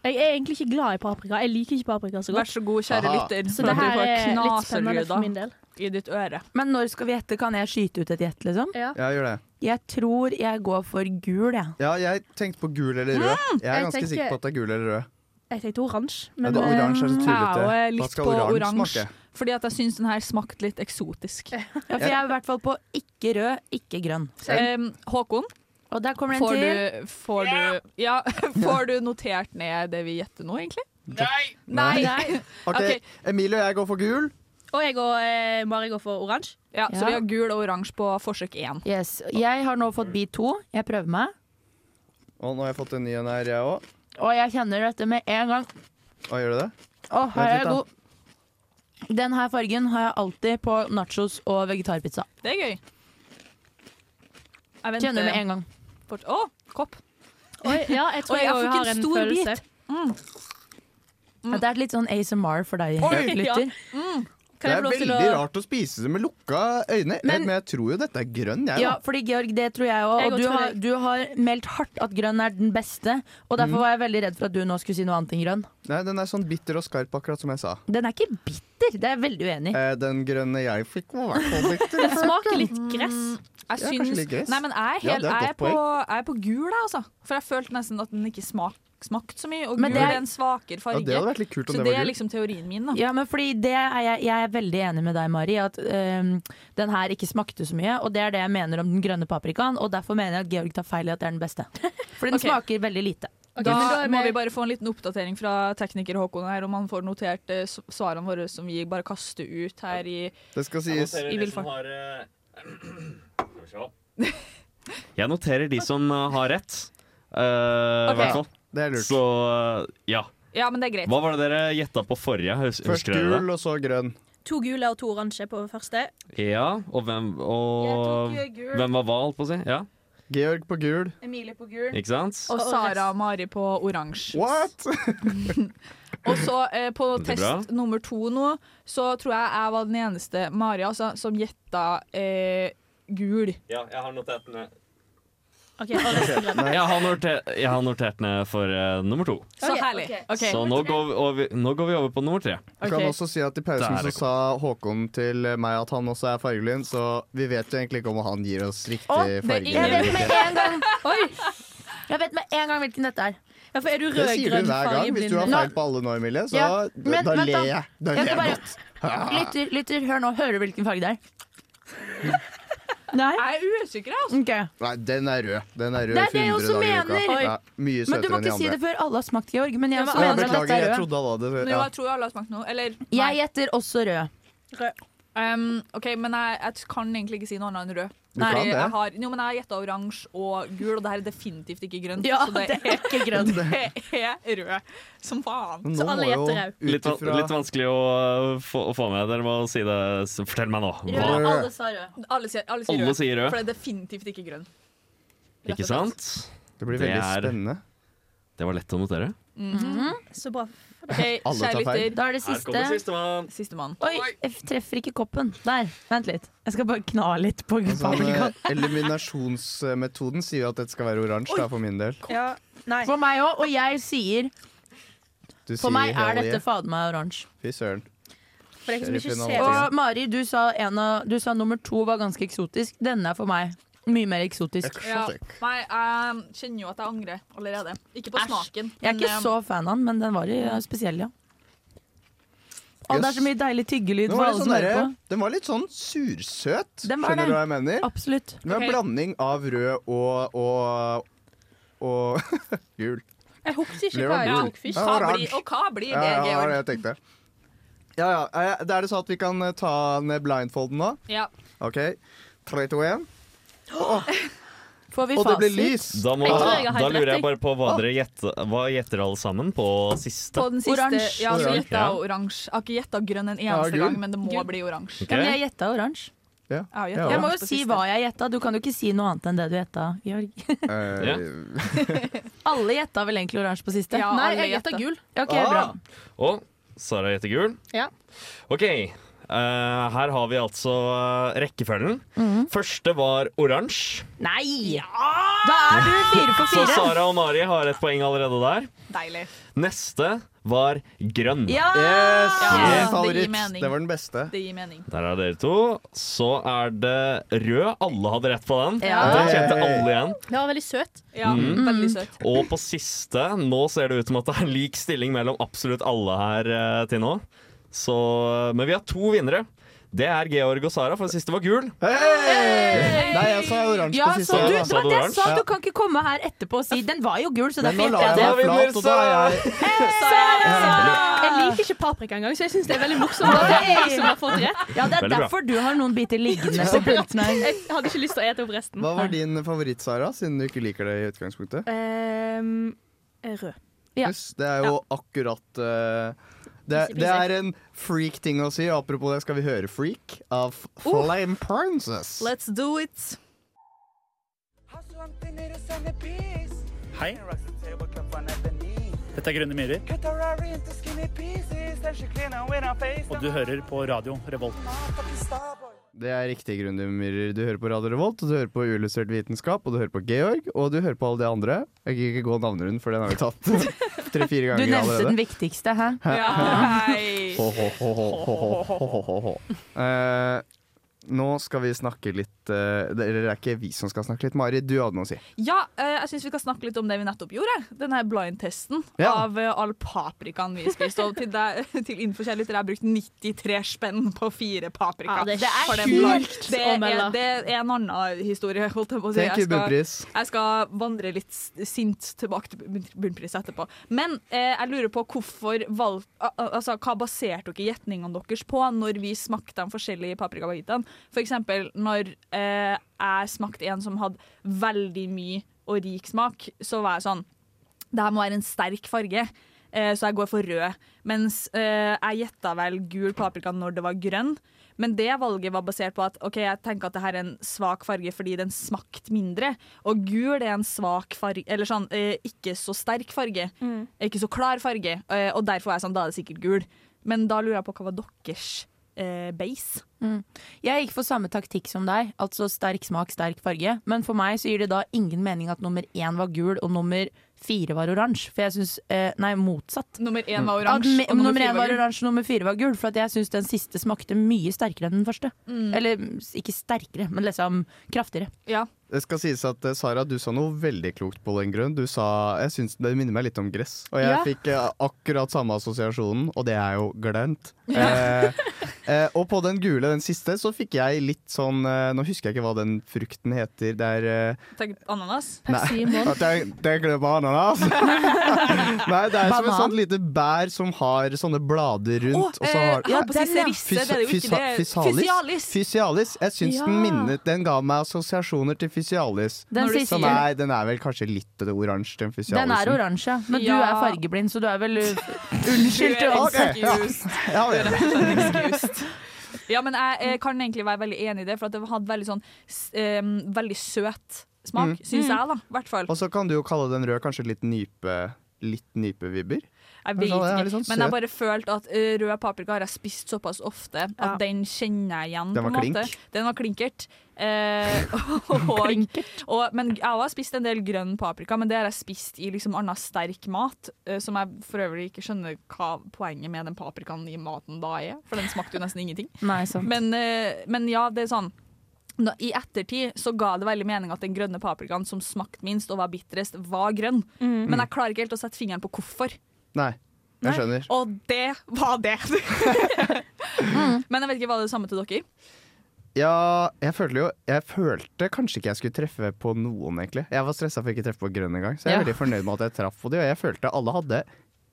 S8: Jeg er egentlig ikke glad i paprika. Jeg liker ikke paprika så godt.
S5: Vær så god, kjære
S9: Aha.
S5: lytter,
S9: Så
S5: for
S9: det
S5: at
S9: her
S5: du
S9: er
S5: får
S9: litt
S8: spennende for min
S5: knaserlyder
S8: del.
S5: i ditt øre.
S9: Men når skal vi gjette? Kan jeg skyte ut et gjett, liksom?
S7: Ja, gjør det.
S9: Jeg tror jeg går for gul, jeg.
S7: Ja, jeg tenkte på gul eller rød.
S5: Mm,
S7: Jeg er
S8: jeg
S7: ganske
S8: tenker-
S7: sikker på at det er gul eller rød.
S8: Jeg tenkte oransje.
S7: Ja, det oransje er så tullete.
S5: Jeg eh, er
S7: Hva
S5: litt
S7: skal
S5: på
S7: oransje
S5: oransje,
S7: smake?
S5: fordi at jeg syns den her smakte litt eksotisk.
S9: Ja, for jeg er i hvert fall på ikke rød, ikke grønn.
S5: Em, Håkon,
S9: Og der kommer den
S5: får
S9: til.
S5: du, får, du, ja, får du notert ned det vi gjetter nå, egentlig? Nei! Nei.
S7: Ok,
S5: Ok.
S7: Emilie og jeg går for gul.
S8: Og jeg og eh, Mari går for oransje.
S5: Ja, Så
S9: Ja.
S5: vi har gul og oransje på forsøk én.
S9: Yes. Jeg har nå fått bit to. Jeg prøver meg.
S7: Og nå har jeg fått en ny en her, jeg òg.
S9: Og jeg kjenner dette med en gang.
S7: Gjør du det?
S9: Å,
S7: Vent
S9: her er
S7: litt,
S9: jeg
S7: da.
S9: god. Den her fargen har jeg alltid på nachos og vegetarpizza.
S5: Det er gøy. Jeg
S9: Kjenner med en gang.
S5: fort- Å, kopp.
S8: Oi, ja, jeg tror
S5: Oi,
S8: jeg,
S5: jeg
S8: også
S5: fikk
S8: har
S5: en
S8: en
S5: stor
S8: følelse.
S9: Ja, Det er litt sånn ASMR for deg, eh,
S7: Oi,
S9: lytter.
S8: Kan
S7: Det
S8: jeg
S7: er
S8: få lov til
S7: veldig
S8: å
S7: rart å spise det med lukka øyne, men,
S9: Men-
S7: men jeg tror jo dette er grønn, jeg.
S9: Ja,
S7: da.
S9: fordi Georg, det tror jeg òg.
S8: Jeg
S9: Og
S8: går
S9: du
S8: for
S9: har,
S8: det.
S9: du har meldt hardt at grønn er den beste. Og
S7: Mm.
S9: derfor var jeg veldig redd for at du nå skulle si noe annet enn grønn.
S7: Nei, den er sånn bitter og skarp, akkurat som jeg sa.
S9: Den er ikke bitter, det er jeg veldig uenig i.
S7: Eh, den grønne jeg fikk, var i hvert fall bitter.
S8: Den smaker litt gress.
S5: Jeg
S7: Ja,
S5: syns
S7: kanskje litt gress.
S5: Nei, men jeg er,
S7: Ja,
S5: helt,
S7: det er et
S5: jeg, er
S7: godt
S5: på,
S7: poeng.
S5: jeg er på gul, jeg, altså. For jeg følte nesten at den ikke smak, smakte så mye. Og
S9: Men
S5: gul
S9: det
S5: er,
S9: er-
S5: en svakere
S7: Ja,
S5: farge.
S7: det hadde vært litt kult om
S5: så
S7: det
S5: det
S7: var
S5: er
S7: gul.
S5: liksom teorien min, da.
S9: Ja, men fordi det er jeg, jeg er veldig enig med deg, Mari, at øhm, den her ikke smakte så mye. Og det er det jeg mener om den grønne paprikaen, og derfor mener jeg at Georg tar feil i at det er den beste. For den
S5: Ok.
S9: smaker veldig lite.
S5: Da,
S8: men da er
S5: må
S8: vi-
S5: vi bare få en liten oppdatering fra tekniker Håkon her, om han får notert eh, s- svarene våre som vi bare kaster ut her i
S7: Det skal sies.
S5: I villfart.
S11: Jeg noterer de som eh, har rett. eh, i
S5: Ok.
S11: hvert fall.
S7: Det er lurt.
S11: Så ja.
S5: Ja, men det er greit.
S11: Hva var det dere gjetta på forrige? Hus
S7: Først
S11: husker dere
S7: gul, og så grønn.
S8: To gule og to oransje på første.
S11: det? Ja, og hvem og
S8: Jeg tok, eh, gul.
S11: Hvem var hva, holdt på å si? Ja,
S7: Georg på gul.
S8: Emilie på gul.
S11: ikke sant?
S5: Og Sara og Mari på oransje.
S7: What?!
S5: Og så eh, på
S11: Veldig bra.
S5: test nummer to nå, så tror jeg jeg var den eneste, Mari altså, som gjetta eh, gul.
S11: Ja, jeg har notert ned.
S8: Ok, og resten grønn.
S11: Jeg har notert, jeg har notert ned for eh, nummer to.
S5: Så
S8: Ok,
S5: herlig.
S8: ok.
S5: Ok.
S11: Så nå går, vi over, nå går vi over på nummer tre.
S7: Jeg
S5: Ok.
S7: kan også si at I pausen
S11: Der er
S7: så
S11: det
S7: sa Håkon til meg at han også er fargeblind, så vi vet jo egentlig ikke om han gir oss
S9: Å,
S7: riktig
S5: det er
S7: farge.
S5: ingen-
S9: Jeg
S7: eller
S9: vet med
S7: ikke.
S9: en gang,
S8: Oi!
S9: jeg vet med en gang hvilken dette er.
S8: Ja, for er du
S7: Det sier
S8: rød-grønn
S7: du hver gang. Hvis du har
S8: fargeblind?
S7: feil på alle nå, Emilie, så
S9: Ja, men
S7: da
S9: vent da.
S7: ler jeg. Da
S9: Jeg
S7: ler jeg
S9: skal bare
S7: godt.
S9: Lytter, lytter, hør nå. Hører du hvilken farge det er? Nei?
S5: Jeg er usikker, altså.
S9: Ok.
S7: Nei, den er rød. Den er rød
S9: Det er det jeg
S7: 100
S9: også
S7: dager i uka.
S9: mener.
S7: Ja, mye
S9: Men du
S7: søtere
S9: må
S7: enn de
S9: ikke si det
S7: andre.
S9: før alle har smakt, Georg. Men jeg
S8: Ja, men
S7: Ja,
S9: mener at dette
S7: beklager,
S9: er
S7: jeg
S9: rød.
S7: trodde alle hadde
S5: Nå,
S7: ja.
S5: jeg tror alle har smakt noe. Eller nei.
S9: Jeg gjetter også rød.
S5: Um, OK, men jeg, jeg kan egentlig ikke si noe annet enn rød.
S7: Du kan
S5: Fordi
S7: det.
S5: jeg har, jo, men jeg har gjetta oransje og gul, og det her er definitivt ikke grønt.
S9: Ja,
S5: så
S9: det
S5: det
S9: er ikke grønn.
S5: er rød som faen.
S7: Nå
S8: Så alle
S7: må jo
S8: gjetter rød.
S11: Litt, van-
S7: utifra-
S11: litt vanskelig å eh, få, å få med. Dere må si det. S- Fortell meg nå. Hva?
S7: Rød.
S8: Alle sa rød.
S5: Alle sier, alle sier,
S11: Alle
S5: rød,
S11: sier rød.
S5: for det er definitivt ikke grønn. Rett
S11: Ikke
S5: og slett.
S11: sant?
S7: Det blir
S11: Det
S7: veldig
S11: er-
S7: spennende.
S11: Det var lett å notere.
S8: Så bra.
S5: OK,
S7: Alle
S5: kjære
S7: tar feil.
S5: lytter.
S9: Da er det siste.
S11: sistemann.
S5: Sistemann.
S9: Oi, jeg treffer ikke koppen. Der, vent litt. Jeg skal bare kna litt på
S7: Sånn, eh,
S9: paprikaen.
S7: eliminasjonsmetoden sier jo at dette skal være oransje, da, for min del.
S8: Nei.
S9: For meg òg, og jeg sier
S7: Du
S9: For meg
S7: hell
S9: er dette
S7: yeah.
S9: fader meg oransje.
S7: Fy søren.
S8: For deg som ikke
S7: Sheriffen
S8: ser
S7: og-
S9: Og Mari, du sa, en av, du sa nummer to var ganske eksotisk. Denne er for meg mye mer eksotisk.
S5: Ja. Nei, jeg kjenner jo at jeg angrer allerede. Ikke på
S8: Æsj.
S5: smaken.
S9: Jeg er
S5: men,
S8: eh,
S9: ikke
S5: um,
S9: så fan av den, men den var eh, spesiell, ja. Å, det er så mye deilig tyggelyd
S7: Den
S9: for
S7: var, litt
S9: alle
S7: sånn
S9: som hører
S7: derre-
S9: på.
S7: den var litt sånn sursøt.
S9: Den var
S7: Skjønner
S9: det.
S7: du hva jeg mener?
S9: Absolutt.
S7: Det var en
S5: Ok.
S7: blanding av rød og og, og gul.
S8: Jeg hukte ikke
S7: Ble det
S8: hva jeg
S7: gul?
S8: tok først.
S7: Ja,
S5: hva
S7: oransje.
S5: blir, og hva blir det,
S7: Ja, ja, det var det
S5: Georg?
S7: jeg tenkte. Ja, ja. eh, Da er det sånn at vi kan eh, ta ned blindfolden nå.
S5: Ja.
S7: OK. 3, 2, 1.
S9: Får vi
S7: Og det ble
S9: fasit?
S7: lys.
S11: Da, må,
S9: Jeg tror jeg har
S11: da
S9: helt
S11: lurer
S9: rett,
S11: jeg bare på hva
S5: Å.
S11: dere gjetter, hva gjetter alle sammen på siste.
S5: På den siste,
S9: Oransje.
S5: Ja, så
S11: Oransje.
S5: gjetta jeg oransje. Jeg har ikke gjetta grønn en
S11: Ja,
S5: eneste
S11: gul.
S5: gang, men det må
S9: Gul.
S5: bli oransje.
S11: Ok. Ja, men jeg
S9: gjetta oransje.
S7: Ja.
S5: Jeg,
S9: Jeg må jo si hva jeg gjetta. Du kan jo ikke si noe annet enn det du gjetta, Georg.
S11: Ja.
S9: Alle gjetta vel egentlig oransje på siste?
S8: Ja, Nei, alle jeg gjetta gjetta. gul.
S9: Ja,
S7: Ah.
S9: ok, bra.
S11: Og Sara gjetter gul.
S8: Ja.
S11: OK. eh, her har vi altså eh, rekkefølgen.
S9: Mhm.
S11: Første var oransje.
S9: Nei! Da er du fire for
S11: Så
S9: fire.
S11: Sara og Mari har et poeng allerede der.
S5: Deilig.
S11: Neste var grønn.
S5: Ja!
S9: Ah!
S7: Yes,
S5: Ja,
S7: min
S5: det gir
S7: favoritt.
S5: mening.
S7: Det var den beste.
S5: Det gir mening.
S11: Der er dere to. Så er det rød. Alle hadde rett på den.
S8: Ja.
S11: Den kjente alle igjen.
S8: Det var veldig søt.
S11: Mm.
S7: Mhm.
S5: veldig søt.
S11: Og på siste, nå ser det ut som at det er lik stilling mellom absolutt alle her eh, til nå. Så, eh, men vi har to vinnere. Det er Georg og Sara, for den siste var gul.
S7: Nei, jeg sa oransje
S9: Ja,
S7: på
S9: så
S7: siste.
S9: du,
S11: Ja,
S9: det
S11: sa
S9: var
S11: du
S9: det jeg sa.
S11: oransje?
S9: Du kan ikke komme her etterpå og si 'den var jo gul', så det er
S7: Men
S9: fint.
S7: nå lar jeg meg flat, og da er jeg
S8: Jeg liker ikke paprika engang, så jeg syns det er veldig morsomt at det er jeg som har fått rett.
S9: Ja, det er
S7: Veldig bra.
S9: derfor du har noen biter liggende på pulten her.
S8: Jeg hadde ikke lyst til å ete opp resten.
S7: Hva var din favoritt, Sara, siden du ikke liker det i utgangspunktet?
S8: Ehm, rød.
S7: Yes, det er jo akkurat eh, det,
S8: Easy peasy.
S7: det er en freak ting å si. Apropos det, skal vi høre 'Freak' av
S5: Oh.
S7: Flame Princess.
S5: Let's do it.
S13: Hei. Dette er Grønne myrer, og du hører på Radio Revolt.
S7: Det er riktig grunn, du Myhrer. Du hører på Radio Revolt, og du hører på Uillustrert vitenskap, og du hører på Georg, og du hører på alle de andre. Jeg gidder ikke gå navnerunden, for den har vi tatt
S9: Du
S7: tre-fire ganger
S9: nevnte den
S7: allerede.
S9: viktigste, hæ?
S7: Hæ?
S5: Hei.
S7: Ho, ho, ho, ho, ho, ho, ho, ho. Eh, nå skal vi snakke litt eh, det- Eller det er ikke vi som skal snakke litt. Mari, du hadde noe å si.
S5: Ja, eh, jeg syns vi skal snakke litt om det vi nettopp gjorde. Den her blind-testen
S7: Ja.
S5: av eh, all paprikaen vi spiste. Og til, deg, til info kjærlighet, dere har brukt 93 spenn på fire paprika.
S8: Ja, det er
S5: For den
S8: sjukt
S5: blind-
S8: å
S5: det, er-
S8: melde.
S5: det er en annen historie, holdt jeg på å si.
S7: Thank you,
S5: Jeg skal,
S7: Bunnpris.
S5: jeg skal vandre litt s- sint tilbake til bunn- Bunnpris etterpå. Men eh, jeg lurer på hvorfor valg, al- al- altså, Hva baserte dere gjetningene deres på når vi smakte de forskjellige paprikabagitene? For eksempel når eh, jeg smakte en som hadde veldig mye og rik smak, så var jeg sånn det her må være en sterk farge, eh, så jeg går for rød. Mens eh, jeg gjetta vel gul paprika når det var grønn. Men det valget var basert på at ok, jeg tenker at det her er en svak farge fordi den smakte mindre. Og gul er en svak farge, eller sånn eh, ikke så sterk farge.
S8: Mm.
S5: Ikke så klar farge. Eh, og derfor var jeg sånn, da er det sikkert gul. Men da lurer jeg på hva var deres eh, base?
S9: Mm. Jeg gikk for samme taktikk som deg, altså sterk smak, sterk farge. Men for meg så gir det da ingen mening at nummer én var gul og nummer fire var oransje. For jeg syns eh, Nei, motsatt.
S5: Nummer én
S7: Mm.
S5: var
S9: At
S7: Ah,
S5: oransje,
S9: me-
S5: og nummer
S9: nummer
S5: fire
S9: én
S5: var
S9: var
S5: gul.
S9: oransje og nummer fire var gul. For at jeg syns den siste smakte mye sterkere enn den første.
S5: Mm.
S9: Eller mm, ikke sterkere, men liksom kraftigere.
S5: Ja.
S7: Det skal sies at eh, Sara, du sa noe veldig klokt på den grunn. Du sa Jeg syns det minner meg litt om gress. Og jeg
S9: Ja.
S7: fikk eh, akkurat samme assosiasjonen, og det er jo glønt. Eh, eh, og på den gule, den siste, så fikk jeg litt sånn eh, Nå husker jeg ikke hva den frukten heter. Det er eh,
S5: Tenk ananas.
S7: Nei, at jeg, det er ikke det bananas. Nei, det er som et
S5: Banan?
S7: sånt lite bær som har sånne blader rundt.
S5: Å,
S7: og så har,
S5: eh, jeg holdt på å si serisse, det er jo ikke det.
S7: Fysialis. fysialis. Jeg syns den
S5: Ja.
S7: minnet Den ga meg assosiasjoner til fysialis.
S9: Den Når du
S7: som
S9: sier-
S7: er, den er vel kanskje litt oransje, den fysialisen.
S9: Den er oransje, ja. men du
S5: Ja.
S9: er fargeblind, så du er vel Unnskyld til oss.
S7: Ok, ja. Ja,
S5: Du er
S7: ja.
S5: rett og slett excused. Ja, men jeg, eh, kan egentlig være veldig enig i det, for at det hadde veldig sånn s- em, veldig søt smak,
S7: Mm.
S5: syns
S7: Mm.
S5: jeg, da. I hvert fall.
S7: Og så kan du jo kalle den rød kanskje litt nype Litt nypevibber.
S5: Jeg
S7: Men
S5: vet
S7: så er
S5: ikke,
S7: det litt sånn
S5: men jeg
S7: søt.
S5: bare følte at eh, rød paprika har jeg spist såpass ofte at
S9: Ja.
S5: den kjenner jeg igjen.
S7: Den
S5: på
S7: var
S5: en måte.
S7: klink.
S5: Den var klinkert. Eh, og, Og, men jeg har også spist en del grønn paprika, men det har jeg spist i liksom annen sterk mat, eh, som jeg for øvrig ikke skjønner hva poenget med den paprikaen i maten da er, for den smakte jo nesten ingenting.
S9: Nei, sånn. sant.
S5: Men, eh, men ja, det er sånn nå- I ettertid så ga det veldig mening at den grønne paprikaen som smakte minst og var bitterest, var grønn.
S7: Mm.
S5: Men jeg klarer ikke helt å sette fingeren på hvorfor.
S7: Nei, jeg skjønner.
S5: Og det var det! Men jeg vet ikke, var det det samme til dere?
S7: Ja, jeg følte jo Jeg følte kanskje ikke jeg skulle treffe på noen, egentlig. Jeg var stressa for ikke å treffe på grønn engang, så jeg er
S5: Ja.
S7: veldig fornøyd med at jeg traff på de, og jeg følte alle hadde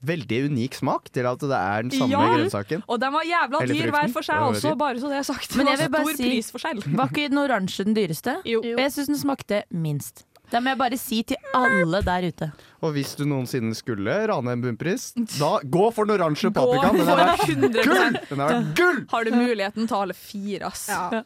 S7: veldig unik smak til at det er den samme grønnsaken.
S5: Og de var jævla
S7: Eller
S5: dyr hver
S7: frukten.
S5: for seg
S7: Ja, det var
S5: også,
S7: dyr.
S5: bare så det er sagt.
S9: Men
S5: Det
S9: jeg vil
S5: var
S9: bare
S5: stor
S9: si,
S5: prisforskjell.
S9: var ikke den oransje den dyreste?
S5: Jo.
S9: Og jeg syns den smakte minst. Det må jeg bare si til alle der ute.
S7: Og hvis du noensinne skulle rane en bunnpris, da gå for den oransje paprikaen. Den har vært gull!
S5: 100%.
S7: Den har vært gull!
S5: Har du muligheten, ta alle fire, ass.
S7: Ja.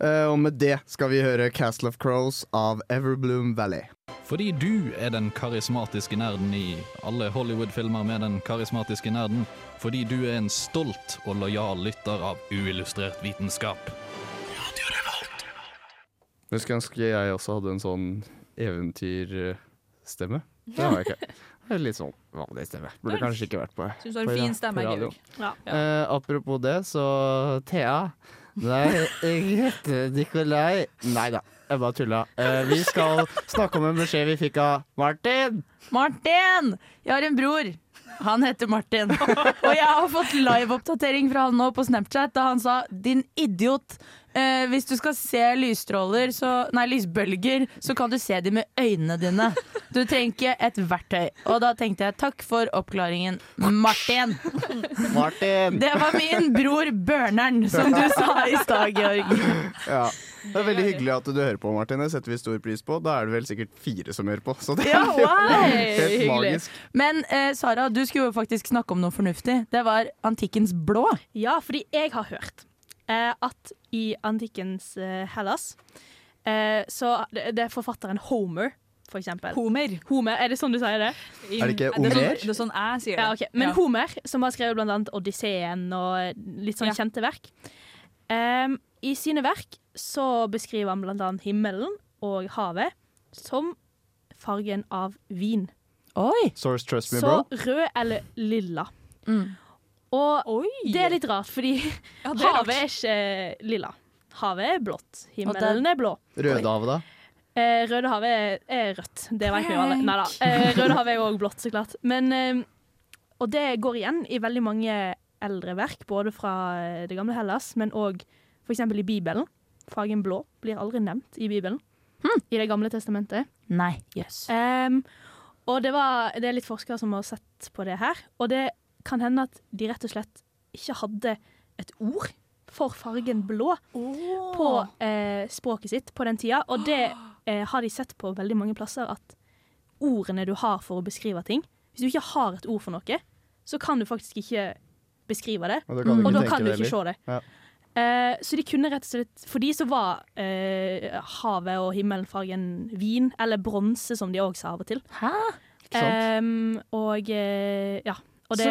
S7: Eh, og med det skal vi høre Castle of Crows av Everbloom Valley.
S14: Fordi du er den karismatiske nerden i alle Hollywood-filmer med den karismatiske nerden. Fordi du er en stolt og lojal lytter av uillustrert vitenskap.
S7: Jeg skulle ønske jeg også hadde en sånn eventyrstemme. Det har jeg ikke. Det er Litt sånn vanlig stemme. Burde kanskje ikke vært på
S5: Synes du har en
S7: på-
S5: fin stemme,
S7: på radio.
S5: Georg. Ja.
S7: Eh, apropos det, så Thea Nei, jeg heter Nikolai. Nei da, jeg bare tulla. Eh, vi skal snakke om en beskjed vi fikk av Martin.
S9: Martin! Jeg har en bror. Han heter Martin. Og jeg har fått liveoppdatering fra han nå på Snapchat da han sa 'din idiot'. Eh, hvis du skal se lysstråler, så, nei, lysbølger, så kan du se dem med øynene dine. Du trenger ikke et verktøy. Og da tenkte jeg takk for oppklaringen, Martin.
S7: Martin!
S9: Det var min bror Børneren, som du sa i stad, Georg.
S7: Ja. Det er veldig hyggelig at du hører på, Martin. Det setter vi stor pris på. Da er det vel sikkert fire som hører på. Så det
S9: Ja,
S7: er
S9: wow!
S7: jo helt magisk.
S9: Men eh, Sara, du skulle jo faktisk snakke om noe fornuftig. Det var antikkens blå.
S8: Ja, fordi jeg har hørt eh, at i antikkens eh, Hellas eh, så det, det er forfatteren Homer, for eksempel.
S5: Homer.
S8: Homer, Er det sånn du sier det?
S5: Er det ikke Det er sånn- Homer? det er sånn jeg sier det.
S8: Ja, ok. Men
S5: Ja.
S8: Homer, som har skrevet blant annet Odysseen og litt sånn
S5: Ja.
S8: kjente verk, em, i sine verk så beskriver han blant annet himmelen og havet som fargen av vin.
S9: Oi!
S7: Source trust me,
S8: Så
S7: bro.
S8: rød eller lilla. Og Mm. det er litt rart, fordi
S5: det er
S8: havet er ikke eh, lilla. Havet er blått.
S7: Og
S8: Himmelen
S7: det-
S8: er blå.
S7: Rødehavet, da?
S8: Eh, Røde havet er, er rødt. Det vet vi jo alle. Neida. Eh, Røde havet er jo òg blått, så klart. Men, eh, og det går igjen i veldig mange eldre verk, både fra eh, det gamle Hellas, men òg f.eks. i Bibelen. Fargen blå blir aldri nevnt i Bibelen. I Det gamle testamentet.
S9: Nei, jøss.
S8: Eh, Em, og det, var, det er litt forskere som har sett på det her. Og det kan hende at de rett og slett ikke hadde et ord for fargen blå på eh, språket sitt på den tida. Og det eh, har de sett på veldig mange plasser, at ordene du har for å beskrive ting Hvis du ikke har et ord for noe, så kan du faktisk ikke beskrive det.
S7: Og da kan du ikke
S8: da
S7: tenke
S8: kan du
S7: det
S8: ikke se
S7: heller.
S8: det.
S7: Ja.
S8: Eh, så de kunne rett og slett For de så var eh, havet og himmelen fargen vin, eller bronse, som de òg sa av og til.
S9: Hæ?
S8: Em, og eh, ja. Og det,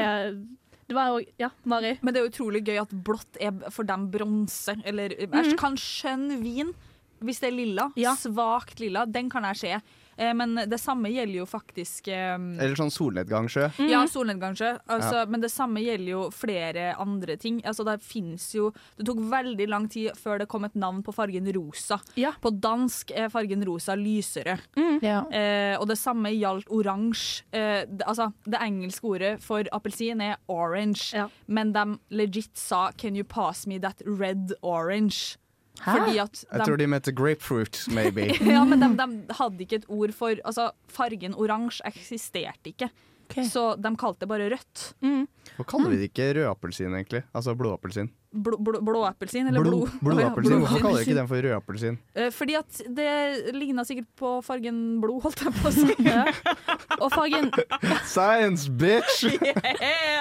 S8: det var jo Ja, Mari?
S5: Men det er utrolig gøy at blått er for dem bronse. Eller jeg
S8: Mhm.
S5: kan skjønne vin hvis det er lilla. Svakt lilla. Den kan jeg se. Eh, Men det samme gjelder jo faktisk eh,
S7: Eller sånn solnedgangssjø.
S5: Ja, solnedgangssjø. Altså,
S7: Mhm. Ja.
S5: Men det samme gjelder jo flere andre ting. Altså, det, finnes jo, det tok veldig lang tid før det kom et navn på fargen rosa. På dansk er fargen rosa lysere.
S7: Mm.
S5: Eh, og det samme gjaldt oransje. Eh, det, altså, det engelske ordet for appelsin er orange, men de legit sa 'can you pass me that red orange'?
S9: Ah.
S5: Fordi at
S7: Jeg tror de mente grapefruit, maybe.
S5: ja, men de, de hadde ikke et ord for Altså, fargen oransje eksisterte ikke. Så de kalte det bare rødt.
S7: Hva kaller vi det ikke rødappelsin, egentlig? Altså blåappelsin.
S5: Blå- blå- Blåappelsin, eller blod.
S7: Blod, blodappelsin. Hvorfor kaller dere ikke den for rødappelsin?
S5: Eh, Fordi at det ligna sikkert på fargen blod, holdt jeg på å si.
S8: Og fargen
S7: Science, bitch!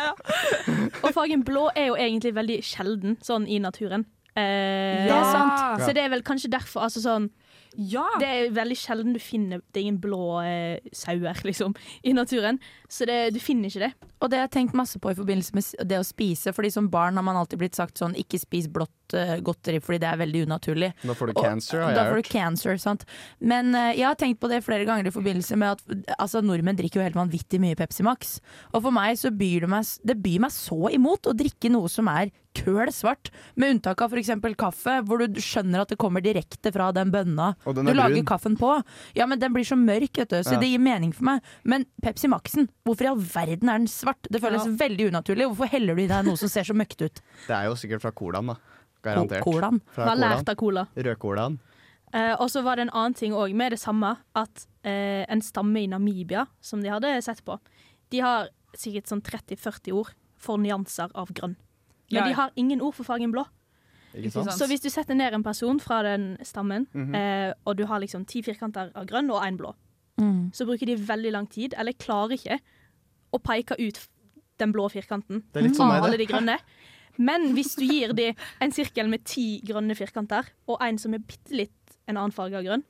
S8: Og fargen blå er jo egentlig veldig sjelden sånn i naturen. Eh,
S5: Det er sant.
S8: Så det er vel kanskje derfor altså sånn Det er veldig sjelden du finner Det er ingen blå eh, sauer, liksom, i naturen. Så det, du finner ikke det.
S9: Og det har jeg tenkt masse på i forbindelse med s- det å spise. Fordi som barn har man alltid blitt sagt sånn ikke spis blått eh, godteri fordi det er veldig unaturlig.
S7: Da får du
S9: Og-
S7: cancer, har jeg
S9: Da får
S7: hørt.
S9: du cancer, sant. Men eh, jeg har tenkt på det flere ganger i forbindelse med at altså, nordmenn drikker jo helt vanvittig mye Pepsi Max. Og for meg så byr det meg, s- det byr meg så imot å drikke noe som er køl svart. Med unntak av f.eks. kaffe, hvor du skjønner at det kommer direkte fra den bønna
S7: Og den
S9: du
S7: er
S9: lager
S7: brun.
S9: kaffen på. Ja, men den blir så mørk, vet du, så
S7: Ja.
S9: det gir mening for meg. Men Pepsi Maxen, hvorfor i all verden er den svart? Det føles
S7: Ja.
S9: veldig unaturlig. Hvorfor heller du i deg noe som ser så møkkete ut?
S7: Det er jo sikkert fra colaen, da. Garantert.
S9: Ko- colaen?
S7: Fra
S8: Hva har lært
S7: colaen.
S8: av cola.
S7: Rødcolaen.
S8: Eh, og så var det en annen ting òg med det samme, at eh, en stamme i Namibia som de hadde sett på, de har sikkert sånn 30-40 ord for nyanser av grønn. Men
S5: Ja, ja.
S8: de har ingen ord for fargen blå.
S7: Ikke sant?
S8: Så hvis du setter ned en person fra den stammen,
S7: Mhm.
S8: eh, og du har liksom ti firkanter av grønn og én blå,
S9: Mm.
S8: så bruker de veldig lang tid, eller klarer ikke, å peke ut f- den blå firkanten
S9: Det er litt som
S8: av
S9: meg, det.
S8: alle de grønne. Men hvis du gir dem en sirkel med ti grønne firkanter, og en som er bitte litt en annen farge av grønn,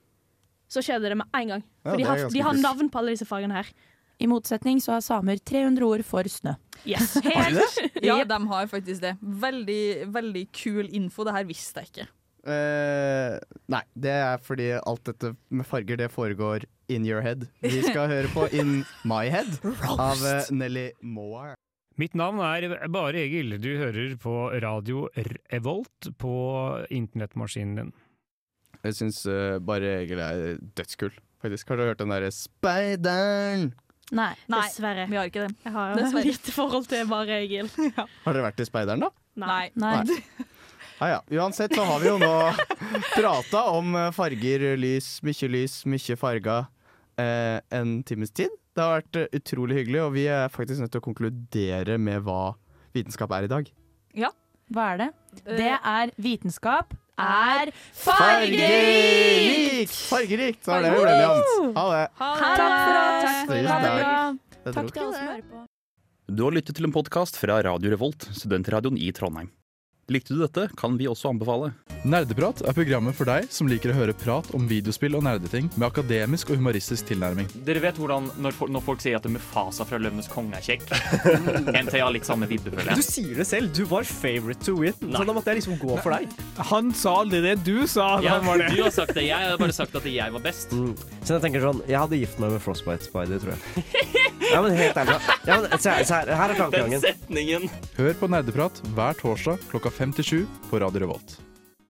S8: så skjer det det med en gang.
S9: Ja,
S8: For de,
S9: det er
S8: har,
S9: ganske
S8: de har
S9: kult.
S8: navn på alle disse fargene her.
S9: I motsetning så har samer 300 ord for snø.
S8: Yes.
S9: Har de
S8: det?
S5: Ja, de har faktisk det. Veldig, veldig kul info. Det her visste jeg ikke.
S7: Eh, nei, det er fordi alt dette med farger, det foregår in your head. Vi skal høre på In My Head av eh, Nelly Moir.
S15: Mitt navn er Bare Egil. Du hører på radio Revolt på internettmaskinen din.
S7: Jeg syns eh, bare Egil er dødskul, faktisk. Har du hørt den derre Speideren?
S8: Nei,
S5: Nei,
S8: dessverre.
S5: Vi har ikke det.
S8: Jeg har jo
S5: Dessverre.
S8: lite forhold til bare Egil.
S7: Har dere vært i Speideren, da?
S8: Nei.
S7: Nei. Ja, ja. Uansett så har vi jo nå prata om eh, farger, lys, mye lys, mye farger eh, en times tid. Det har vært eh, utrolig hyggelig, og vi er faktisk nødt til å konkludere med hva vitenskap er i dag.
S5: Ja.
S9: Hva er det?
S7: Eh.
S9: Det er vitenskap er
S7: Fargerikt! Fargerikt! Så er det vi ble enige om. Ha det.
S9: Takk for oss.
S7: Takk for i dag.
S9: Takk
S7: Takk
S9: til alle som hører på.
S16: Du har lyttet til en podkast fra Radio Revolt, studentradioen i Trondheim. Likte du dette, kan vi også anbefale.
S17: Nerdeprat er programmet for deg som liker å høre prat om videospill og nerdeting med akademisk og humoristisk tilnærming.
S13: Dere vet hvordan når, fol- når folk sier at Mufasa fra Løvenes konge er kjekk? MT har litt samme vibbe, føler
S18: Du
S13: jeg.
S18: sier det selv. Du var favorite to win.
S13: Nei.
S18: Så da måtte jeg liksom gå for deg.
S3: Han sa aldri det du sa. at
S13: Ja,
S3: han var det.
S13: du har sagt det. Jeg har bare sagt at jeg var best.
S18: Så jeg tenker sånn Jeg hadde gift meg med Frostbite Spider, tror jeg. Ja, men helt ærlig. Ja, men, se, her- se her, her er
S13: Den
S18: tankegangen.
S13: setningen.
S17: Hør på Nerdeprat hver torsdag klokka fem til sju på Radio Revolt.